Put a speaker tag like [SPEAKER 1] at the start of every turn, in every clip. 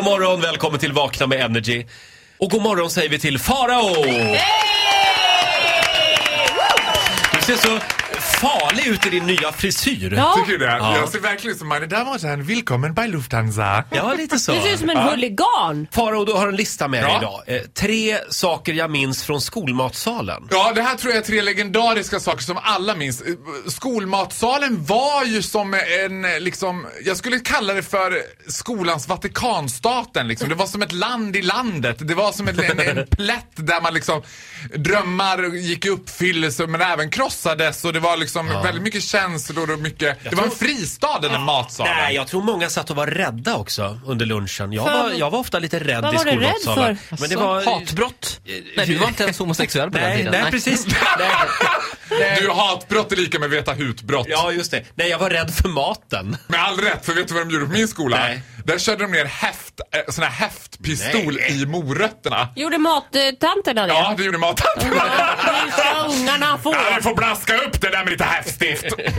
[SPEAKER 1] morgon, välkommen till Vakna med Energy. Och god morgon säger vi till Farao! Du ser så farlig ut i din nya frisyr.
[SPEAKER 2] Ja.
[SPEAKER 3] Tycker du det?
[SPEAKER 1] Ja.
[SPEAKER 3] Jag ser verkligen ut som meine Damen och Herren, willkommen bei Lufthansa.
[SPEAKER 1] Ja, lite så.
[SPEAKER 2] Du ser ut som en huligan.
[SPEAKER 1] Farao, du har en lista med dig
[SPEAKER 3] Ja.
[SPEAKER 1] idag. Eh, tre saker jag minns från skolmatsalen.
[SPEAKER 3] Ja, det här tror jag är tre legendariska saker som alla minns. Eh, Skolmatsalen var ju som en, eh, liksom, jag skulle kalla det för skolans Vatikanstaten liksom. Det var som ett land i landet. Det var som ett, en, en plätt där man liksom, drömmar gick i uppfyllelse men även krossades och det var liksom väldigt mycket känslor och mycket, det var en fristad den där matsalen.
[SPEAKER 1] Ah, Nej, jag tror många satt och var rädda också under lunchen. Jag,
[SPEAKER 2] För-
[SPEAKER 1] var, jag var ofta lite rädd
[SPEAKER 2] Vad
[SPEAKER 1] i
[SPEAKER 2] var du rädd
[SPEAKER 1] skolmatsalen.
[SPEAKER 2] för? Alltså,
[SPEAKER 1] Men det var... Eh,
[SPEAKER 4] Hatbrott? Nej, du var inte ens homosexuell på den
[SPEAKER 1] Nej,
[SPEAKER 4] tiden.
[SPEAKER 1] nej, precis.
[SPEAKER 3] Du, hatbrott är lika med veta hut-brott.
[SPEAKER 1] Ja, just det. Nej, jag var rädd för maten.
[SPEAKER 3] Med all rätt, för vet du vad de gjorde på min skola?
[SPEAKER 1] Nej.
[SPEAKER 3] Där körde de ner häft, eh, sån här häftpistol
[SPEAKER 1] Nej.
[SPEAKER 3] i morötterna.
[SPEAKER 2] Gjorde mattanterna det?
[SPEAKER 3] Ja, det gjorde mattanterna.
[SPEAKER 2] Nu ska ungarna få.
[SPEAKER 3] Ja, vi får blaska upp det där med lite häftstift.
[SPEAKER 2] Mm.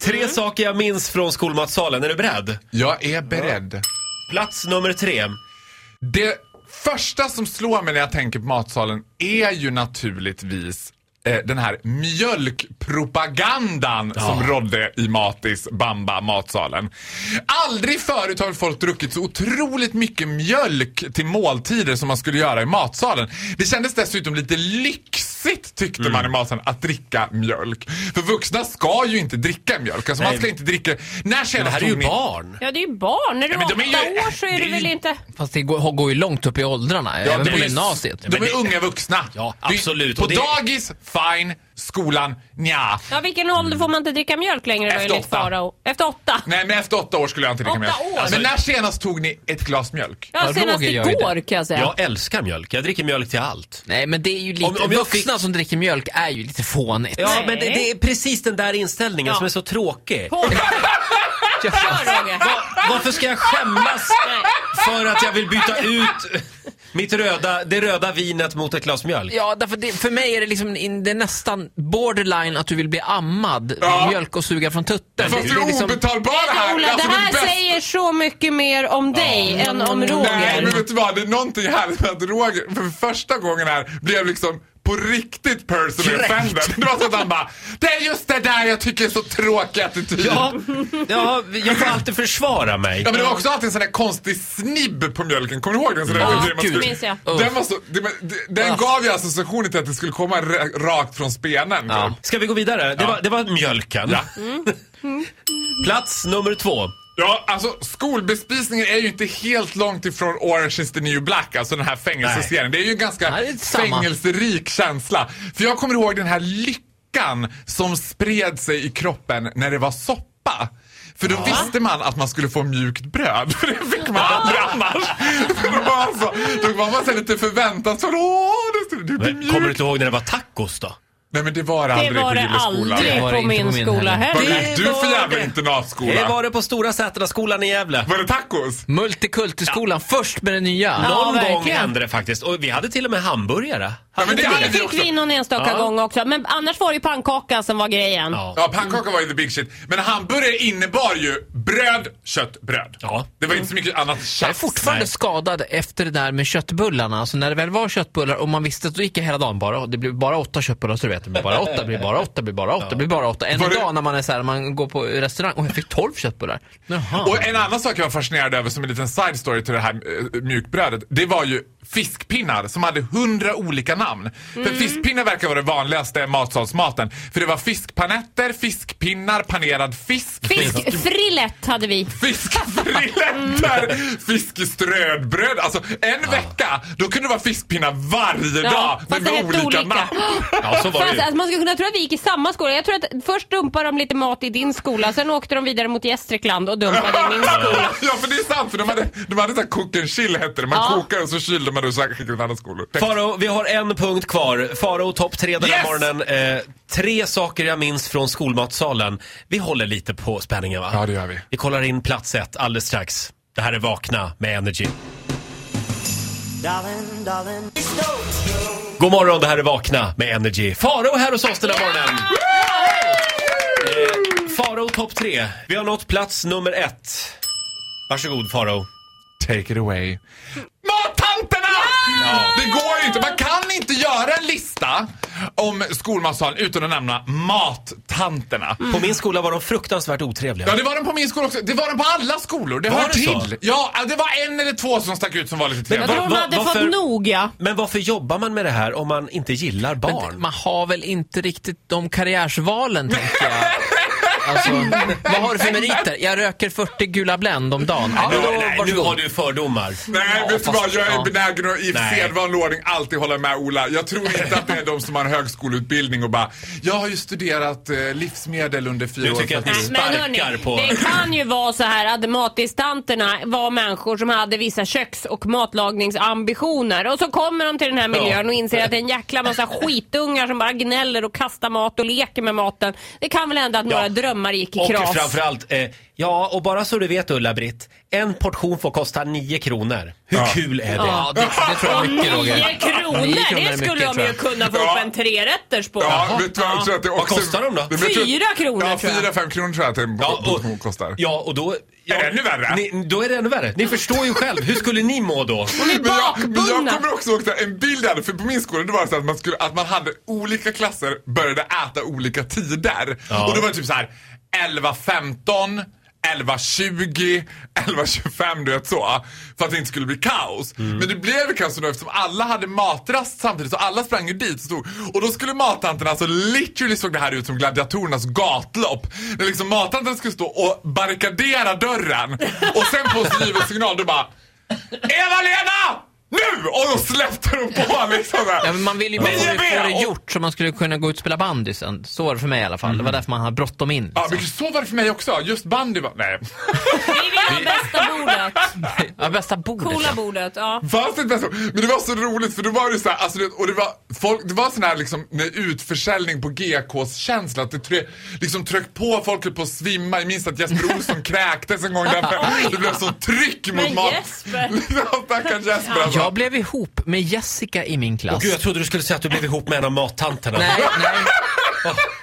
[SPEAKER 1] Tre saker jag minns från skolmatsalen. Är du beredd?
[SPEAKER 3] Jag är beredd.
[SPEAKER 1] Plats nummer tre.
[SPEAKER 3] Det första som slår mig när jag tänker på matsalen är ju naturligtvis eh, den här mjölkpropagandan som rådde i Matis Bamba matsalen. Aldrig förut har folk druckit så otroligt mycket mjölk till måltider som man skulle göra i matsalen. Det kändes dessutom lite lyxigt tyckte man i
[SPEAKER 1] Mm.
[SPEAKER 3] matsalen att dricka mjölk. För vuxna ska ju inte dricka mjölk. Alltså man
[SPEAKER 1] Nej.
[SPEAKER 3] ska inte dricka... När senast
[SPEAKER 1] Det här är ju
[SPEAKER 3] tog ni-
[SPEAKER 1] barn.
[SPEAKER 2] Ja, det är ju barn. När du
[SPEAKER 3] Ja,
[SPEAKER 2] är
[SPEAKER 3] men
[SPEAKER 2] åtta
[SPEAKER 3] de är ju-
[SPEAKER 2] år så är
[SPEAKER 3] det
[SPEAKER 2] du
[SPEAKER 3] är
[SPEAKER 2] väl
[SPEAKER 3] ju-
[SPEAKER 2] inte...
[SPEAKER 4] Fast det går, går ju långt upp i åldrarna, även
[SPEAKER 3] det
[SPEAKER 4] på
[SPEAKER 3] är-
[SPEAKER 4] gymnasiet.
[SPEAKER 3] De
[SPEAKER 1] Men
[SPEAKER 3] är
[SPEAKER 1] det-
[SPEAKER 3] unga vuxna.
[SPEAKER 1] Ja,
[SPEAKER 3] Det är-
[SPEAKER 1] absolut.
[SPEAKER 3] På
[SPEAKER 1] Och det-
[SPEAKER 3] dagis, fine. Skolan, nja.
[SPEAKER 2] Ja, vilken ålder får man inte dricka mjölk längre då
[SPEAKER 3] Efter
[SPEAKER 2] enligt
[SPEAKER 3] åtta.
[SPEAKER 2] Farao? Efter åtta?
[SPEAKER 3] Nej, men efter åtta år skulle jag inte dricka
[SPEAKER 2] Åtta
[SPEAKER 3] mjölk.
[SPEAKER 2] år?
[SPEAKER 3] Men när senast tog ni ett glas mjölk?
[SPEAKER 2] Ja,
[SPEAKER 4] Ja,
[SPEAKER 2] senast
[SPEAKER 4] Roger gör ju
[SPEAKER 2] igår kan jag säga.
[SPEAKER 1] Jag älskar mjölk. Jag dricker mjölk till allt.
[SPEAKER 4] Nej, men det är ju lite...
[SPEAKER 1] Om- om jag
[SPEAKER 4] vuxna som dricker mjölk är ju lite fånigt.
[SPEAKER 1] Ja,
[SPEAKER 2] Nej.
[SPEAKER 1] men det, det är precis den där inställningen
[SPEAKER 2] Ja.
[SPEAKER 1] som är så tråkig.
[SPEAKER 2] På. Kör Roger.
[SPEAKER 1] Varför ska jag skämmas för att jag vill byta ut mitt röda, det röda vinet mot ett glas mjölk?
[SPEAKER 4] Ja, därför det, för mig är det liksom in, det är nästan borderline att du vill bli ammad
[SPEAKER 3] Ja.
[SPEAKER 4] med mjölk och suga från tutten.
[SPEAKER 3] Fast det
[SPEAKER 4] är
[SPEAKER 3] är
[SPEAKER 4] liksom-
[SPEAKER 3] obetalbara här!
[SPEAKER 2] Ola,
[SPEAKER 3] Alltså,
[SPEAKER 2] det här
[SPEAKER 3] bästa-
[SPEAKER 2] säger så mycket mer om dig än om Roger.
[SPEAKER 3] Nej, men vet du vad? Det är någonting härligt med att Roger för första gången här blev liksom på riktigt personal
[SPEAKER 1] Kränkt.
[SPEAKER 3] offended. Det var så att han bara Det är just det där jag tycker är så tråkig attityd.
[SPEAKER 1] Ja, ja, jag får alltid försvara mig.
[SPEAKER 3] Ja, men det var också alltid en sån där konstig snibb på mjölken. Kommer du ihåg den? Sån där,
[SPEAKER 4] Ja,
[SPEAKER 3] man
[SPEAKER 4] gud.
[SPEAKER 3] skulle-
[SPEAKER 2] Minns jag.
[SPEAKER 3] Den, var så, det, men- det- den gav ju associationen till att det skulle komma ra- rakt från spenen. typ.
[SPEAKER 4] Ja.
[SPEAKER 1] Ska vi gå vidare? Det, var, det var mjölken. Plats nummer två.
[SPEAKER 3] Ja, alltså skolbespisningen är ju inte helt långt ifrån Orange is the new black, alltså den här fängelseserien. Det är ju en ganska
[SPEAKER 4] Nej, det är inte samma.
[SPEAKER 3] fängelserik känsla. För jag kommer ihåg den här lyckan som spred sig i kroppen när det var soppa. För då visste man att man skulle få mjukt bröd, för det fick man aldrig annars. För då var man så, då var man så här lite förväntansfull. Åh, det skulle det bli
[SPEAKER 1] Men, kommer du
[SPEAKER 3] mjukt.
[SPEAKER 1] inte ihåg när det var tacos då?
[SPEAKER 3] Nej men det var det
[SPEAKER 2] Det
[SPEAKER 3] aldrig
[SPEAKER 2] var
[SPEAKER 3] på
[SPEAKER 2] det
[SPEAKER 3] Gilleskolan.
[SPEAKER 2] aldrig
[SPEAKER 4] Det var det
[SPEAKER 2] på
[SPEAKER 4] inte
[SPEAKER 2] min
[SPEAKER 4] på min
[SPEAKER 2] skola
[SPEAKER 4] heller.
[SPEAKER 3] Vad
[SPEAKER 2] heller.
[SPEAKER 3] gick du för
[SPEAKER 1] var
[SPEAKER 3] jävla
[SPEAKER 1] det.
[SPEAKER 3] internatskola?
[SPEAKER 1] Det var det på Stora Sätraskolan i Gävle.
[SPEAKER 3] var det tacos?
[SPEAKER 4] Multikultiskolan, först med det nya.
[SPEAKER 2] Ja.
[SPEAKER 1] Någon gång
[SPEAKER 2] verkligen.
[SPEAKER 1] hände det faktiskt. Och vi hade till och med hamburgare.
[SPEAKER 3] Ja, men det hade
[SPEAKER 2] Det
[SPEAKER 3] vi också.
[SPEAKER 2] fick vi någon enstaka
[SPEAKER 1] Ja.
[SPEAKER 2] gång också. Men annars var det ju pannkakan som var grejen.
[SPEAKER 1] Ja.
[SPEAKER 3] Ja, pannkaka var ju the big shit. Men hamburgare innebar ju bröd, kött, bröd.
[SPEAKER 1] Ja.
[SPEAKER 3] Det var inte så mycket annat
[SPEAKER 4] Jag är
[SPEAKER 3] tjafs.
[SPEAKER 4] fortfarande
[SPEAKER 1] Nej.
[SPEAKER 4] skadad efter det där med köttbullarna. Alltså när det väl var köttbullar och man visste att då gick jag hela dagen bara, det blir bara åtta köttbullar så du vet, det blir bara åtta, blir bara åtta, blir bara åtta, blir bara åtta. Än
[SPEAKER 3] Var det-
[SPEAKER 4] idag när man är så här, man går på restaurang och jag fick tolv köttbullar. Jaha.
[SPEAKER 3] Och en annan sak jag var fascinerad över som en liten side story till det här eh, mjukbrödet. Det var ju fiskpinnar som hade hundra olika namn. För fiskpinnar verkar vara det vanligaste matsalsmaten. För det var fiskpanetter, fiskpinnar, panerad fisk.
[SPEAKER 2] Fiskfrilett hade vi.
[SPEAKER 3] Fiskfriletter, fiskströdbröd. Alltså en vecka, då kunde det vara fiskpinnar varje
[SPEAKER 2] Ja,
[SPEAKER 3] dag.
[SPEAKER 2] fast
[SPEAKER 3] Men
[SPEAKER 2] det
[SPEAKER 3] med
[SPEAKER 2] hette
[SPEAKER 3] olika,
[SPEAKER 2] olika.
[SPEAKER 3] namn.
[SPEAKER 1] Ja, så var det
[SPEAKER 2] Fast,
[SPEAKER 1] ju.
[SPEAKER 2] alltså, man skulle kunna tro att vi gick i samma skola. Jag tror att först dumpade de lite mat i din skola, sen åkte de vidare mot Gästrikland och dumpade i min skola.
[SPEAKER 3] Ja för det är sant, för de hade, de hade så här cook and chill hette det. Man
[SPEAKER 2] Ja.
[SPEAKER 3] kokar och så kylde man det och så skickade man andra skolor.
[SPEAKER 1] Faro, vi har en punkt kvar. Faro, topp tre den här
[SPEAKER 3] Yes!
[SPEAKER 1] morgonen. Eh, tre saker jag minns från skolmatsalen. Vi håller lite på spänningen va?
[SPEAKER 3] Ja, det gör vi.
[SPEAKER 1] Vi kollar in plats ett alldeles strax. Det här är Vakna med Energy. God morgon, det här är Vakna med Energy. Faro här hos oss den här morgonen. Eh, Faro topp tre. Vi har nått plats nummer ett. Varsågod Faro.
[SPEAKER 3] Take it away. Mattanterna! Det går ju inte. Man kan inte göra en lista om skolmatsalen utan att nämna mattanterna.
[SPEAKER 1] På min skola var de fruktansvärt otrevliga.
[SPEAKER 3] Ja, det var den på min skola också. Det var den på alla skolor. Det
[SPEAKER 1] Var
[SPEAKER 3] hör
[SPEAKER 1] det så?
[SPEAKER 3] till. Ja, det var en eller två som stack ut som var lite
[SPEAKER 1] Men
[SPEAKER 3] trevliga.
[SPEAKER 2] Jag tror
[SPEAKER 1] va-
[SPEAKER 2] hon hade
[SPEAKER 1] varför-
[SPEAKER 2] fått nog ja.
[SPEAKER 1] Men varför jobbar man med det här om man inte gillar barn?
[SPEAKER 4] Men man har väl inte riktigt de karriärsvalen, tänker jag. Alltså, vad har du för meriter? Jag röker 40 gula Blend om dagen. Ja,
[SPEAKER 1] Nu,
[SPEAKER 4] men då,
[SPEAKER 1] nej, nu
[SPEAKER 4] varsågod.
[SPEAKER 1] har du fördomar.
[SPEAKER 3] Nej, vet du
[SPEAKER 4] fast-
[SPEAKER 3] vad? Jag är
[SPEAKER 4] ja.
[SPEAKER 3] benägen att i
[SPEAKER 1] Nej.
[SPEAKER 3] sedvanlig ordning alltid hålla med Ola. Jag tror inte att det är de som har en högskoleutbildning och bara, jag har ju studerat eh, livsmedel under fyra
[SPEAKER 1] Nu
[SPEAKER 3] år.
[SPEAKER 1] tycker jag att
[SPEAKER 3] för
[SPEAKER 1] ni
[SPEAKER 2] Nej, men
[SPEAKER 1] sparkar
[SPEAKER 2] hörni,
[SPEAKER 1] på...
[SPEAKER 2] det kan ju vara så här att matistanterna var människor som hade vissa köks och matlagningsambitioner och så kommer de till den här miljön och inser att det är en jäkla massa skitungar som bara gnäller och kastar mat och leker med maten. Det kan väl hända att några drömmar gick i
[SPEAKER 1] Och
[SPEAKER 2] kras.
[SPEAKER 1] framförallt, eh, ja och bara så du vet Ulla-Britt, en portion får kosta 9 kronor. Hur
[SPEAKER 3] Ja.
[SPEAKER 1] kul är det?
[SPEAKER 4] Ja, det, det tror jag
[SPEAKER 2] Och
[SPEAKER 4] är mycket, Roger.
[SPEAKER 2] nio kronor,
[SPEAKER 4] Nio kronor är
[SPEAKER 2] det
[SPEAKER 4] mycket,
[SPEAKER 2] skulle
[SPEAKER 4] tror
[SPEAKER 2] de ju
[SPEAKER 4] jag.
[SPEAKER 2] kunna få
[SPEAKER 3] Ja.
[SPEAKER 2] upp en trerätters på.
[SPEAKER 3] Ja, vet du vad, jag tror att det också...
[SPEAKER 1] Vad kostar de då?
[SPEAKER 3] Men jag tror-
[SPEAKER 2] Fyra kronor,
[SPEAKER 3] Ja,
[SPEAKER 2] tror jag.
[SPEAKER 3] fyra, fem kronor tror jag att det
[SPEAKER 1] Ja,
[SPEAKER 3] en kostar.
[SPEAKER 1] Ja, och då... Ja,
[SPEAKER 3] Är det ännu värre?
[SPEAKER 1] Ni, då är det ännu värre. Ni förstår ju själv, hur skulle ni må då?
[SPEAKER 3] Men jag, men jag
[SPEAKER 2] bakbundna.
[SPEAKER 3] kommer också ihåg så här, en bild jag hade, för på min skola det var det så att man, skulle, att man hade olika klasser började äta olika tider.
[SPEAKER 1] Ja.
[SPEAKER 3] Och då var det typ så här 11.15, 11.20, 11.25 du vet så. För att det inte skulle bli kaos. Men det blev ju kaos då eftersom alla hade matrast samtidigt så alla sprang ju dit. och Stod, och då skulle mattanterna, alltså literally såg det här ut som gladiatorernas gatlopp. När liksom mattanterna skulle stå och barrikadera dörren. Och sen på given signal då bara Eva-Lena! Nu! Och då släppte de på liksom.
[SPEAKER 4] Ja, men man vill ju bara
[SPEAKER 3] Men
[SPEAKER 4] få
[SPEAKER 3] jag
[SPEAKER 4] det,
[SPEAKER 3] vet,
[SPEAKER 4] få det
[SPEAKER 3] och-
[SPEAKER 4] gjort så man skulle kunna gå ut och spela bandy sen. Så var det för mig i alla fall. Det var därför man hade bråttom in.
[SPEAKER 3] Ja,
[SPEAKER 4] Liksom.
[SPEAKER 3] men så var det för mig också. Just bandy var... Nej.
[SPEAKER 2] Vi vill ha bästa bordet.
[SPEAKER 4] Ja, bästa bordet.
[SPEAKER 2] Coola
[SPEAKER 4] ja.
[SPEAKER 2] bordet, ja.
[SPEAKER 3] Fanns det ett bästa Men det var så roligt för då var det så här, alltså, det, och det var, folk, det var sån här liksom med utförsäljning på GKs känsla att det tre, liksom tryck på folk höll på att svimma. Jag minns att Jesper Olsson kräktes en gång därför det blev sånt tryck mot
[SPEAKER 2] Men
[SPEAKER 3] mat.
[SPEAKER 2] Jesper.
[SPEAKER 3] Ja, Stackars Jesper alltså.
[SPEAKER 4] Jag blev ihop med Jessica i min klass.
[SPEAKER 1] Gud, jag trodde du skulle säga att du blev ihop med en av mattanterna.
[SPEAKER 4] Nej, nej.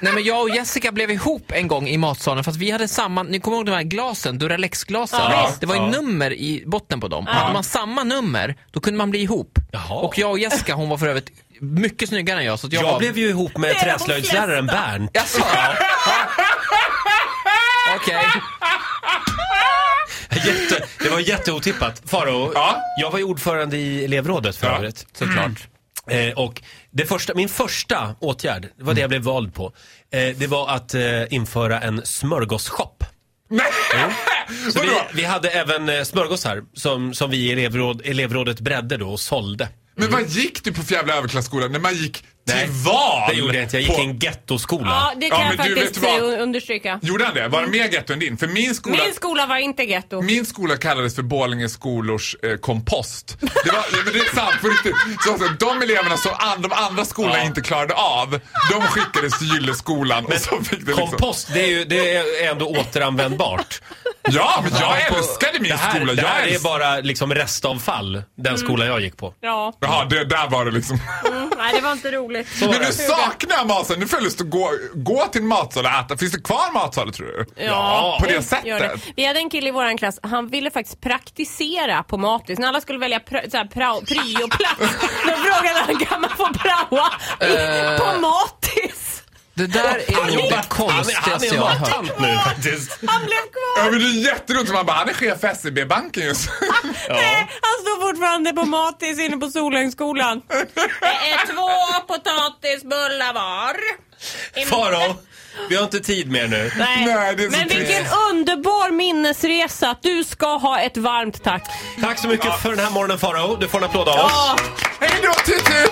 [SPEAKER 4] Nej men jag och Jessica blev ihop en gång i matsalen för att vi hade samma, ni kommer ihåg de här glasen, Duralex-glasen?
[SPEAKER 2] Ja,
[SPEAKER 4] det var ju nummer i botten på dem. Hade man samma nummer, då kunde man bli ihop.
[SPEAKER 1] Jaha.
[SPEAKER 4] Och jag och Jessica, hon var för övrigt mycket snyggare än jag så att jag,
[SPEAKER 1] Jag
[SPEAKER 4] var...
[SPEAKER 1] blev ju ihop med
[SPEAKER 2] Det är de
[SPEAKER 1] träslöjdsläraren Bernt.
[SPEAKER 4] Jaså? Okej.
[SPEAKER 1] Jätte, det var jätteotippat. Faro,
[SPEAKER 3] Ja.
[SPEAKER 1] jag var ju ordförande i elevrådet för
[SPEAKER 3] Ja, Mm.
[SPEAKER 1] övrigt. Såklart. Eh, och det första, min första åtgärd, det var det jag blev vald på, eh, det var att eh, införa en smörgåsshop. Mm.
[SPEAKER 3] Nej!
[SPEAKER 1] Så vi,
[SPEAKER 3] Vadå?
[SPEAKER 1] vi hade även eh, smörgåsar som, som vi i elevråd, elevrådet bredde då och sålde.
[SPEAKER 3] Men vad gick du på för jävla överklasskola när man gick
[SPEAKER 1] Nej,
[SPEAKER 3] till val?
[SPEAKER 1] Det gjorde jag inte, jag gick
[SPEAKER 3] på-
[SPEAKER 1] i en gettoskola.
[SPEAKER 2] Ja, det
[SPEAKER 3] Ja,
[SPEAKER 2] kan jag
[SPEAKER 3] men du, vet
[SPEAKER 2] faktiskt
[SPEAKER 3] du vad?
[SPEAKER 2] eh, understryka.
[SPEAKER 3] Gjorde han det? Var det
[SPEAKER 1] Mm.
[SPEAKER 3] mer getto än din? För min skola...
[SPEAKER 2] Min skola var inte getto.
[SPEAKER 3] Min skola kallades för Borlänge skolors eh, kompost. Det, var, ja, men det är sant, på riktigt. Så alltså, de eleverna som an, de andra skolorna
[SPEAKER 1] Ja.
[SPEAKER 3] inte klarade av, de skickades till Gylleskolan och så fick det liksom...
[SPEAKER 1] Kompost, det är ju det är ändå återanvändbart.
[SPEAKER 3] Ja, men jag
[SPEAKER 1] på-
[SPEAKER 3] älskade min
[SPEAKER 1] det här,
[SPEAKER 3] skola.
[SPEAKER 1] Det här
[SPEAKER 3] Jag
[SPEAKER 1] är
[SPEAKER 3] älsk...
[SPEAKER 1] bara liksom restavfall, den skola jag gick på.
[SPEAKER 2] Ja.
[SPEAKER 3] Jaha, det, där var det liksom.
[SPEAKER 2] Mm, nej, det var inte roligt.
[SPEAKER 3] Men nu saknar jag matsalen. Nu får jag lust att gå, gå till matsalen och äta. Finns det kvar matsalar tror du?
[SPEAKER 2] Ja,
[SPEAKER 3] På det
[SPEAKER 2] gör
[SPEAKER 3] sättet?
[SPEAKER 2] Vi hade en kille i vår klass, han ville faktiskt praktisera på matis. När alla skulle välja pr- så här, prao- prioplats, då frågade han kan man få praoa i,
[SPEAKER 4] Eh.
[SPEAKER 2] på matis?
[SPEAKER 4] Det där är nog det
[SPEAKER 1] han
[SPEAKER 4] konstigaste
[SPEAKER 1] är en
[SPEAKER 4] jag har hört.
[SPEAKER 1] mattant nu faktiskt.
[SPEAKER 2] Han blev kvar!
[SPEAKER 3] Ja, men det är jätteroligt. Man bara, han är chef för SEB-banken just
[SPEAKER 2] Nej, han står fortfarande på matis inne på Solhängsskolan. Det är två potatisbullar var.
[SPEAKER 1] Faro, vi har inte tid mer nu.
[SPEAKER 2] Nej.
[SPEAKER 3] Nej, det är så
[SPEAKER 2] Men
[SPEAKER 3] trist.
[SPEAKER 2] vilken underbar minnesresa. Du ska ha ett varmt tack.
[SPEAKER 1] Tack så mycket för den här morgonen Faro. Du får en applåd av oss.
[SPEAKER 3] Hej då, tut, tut!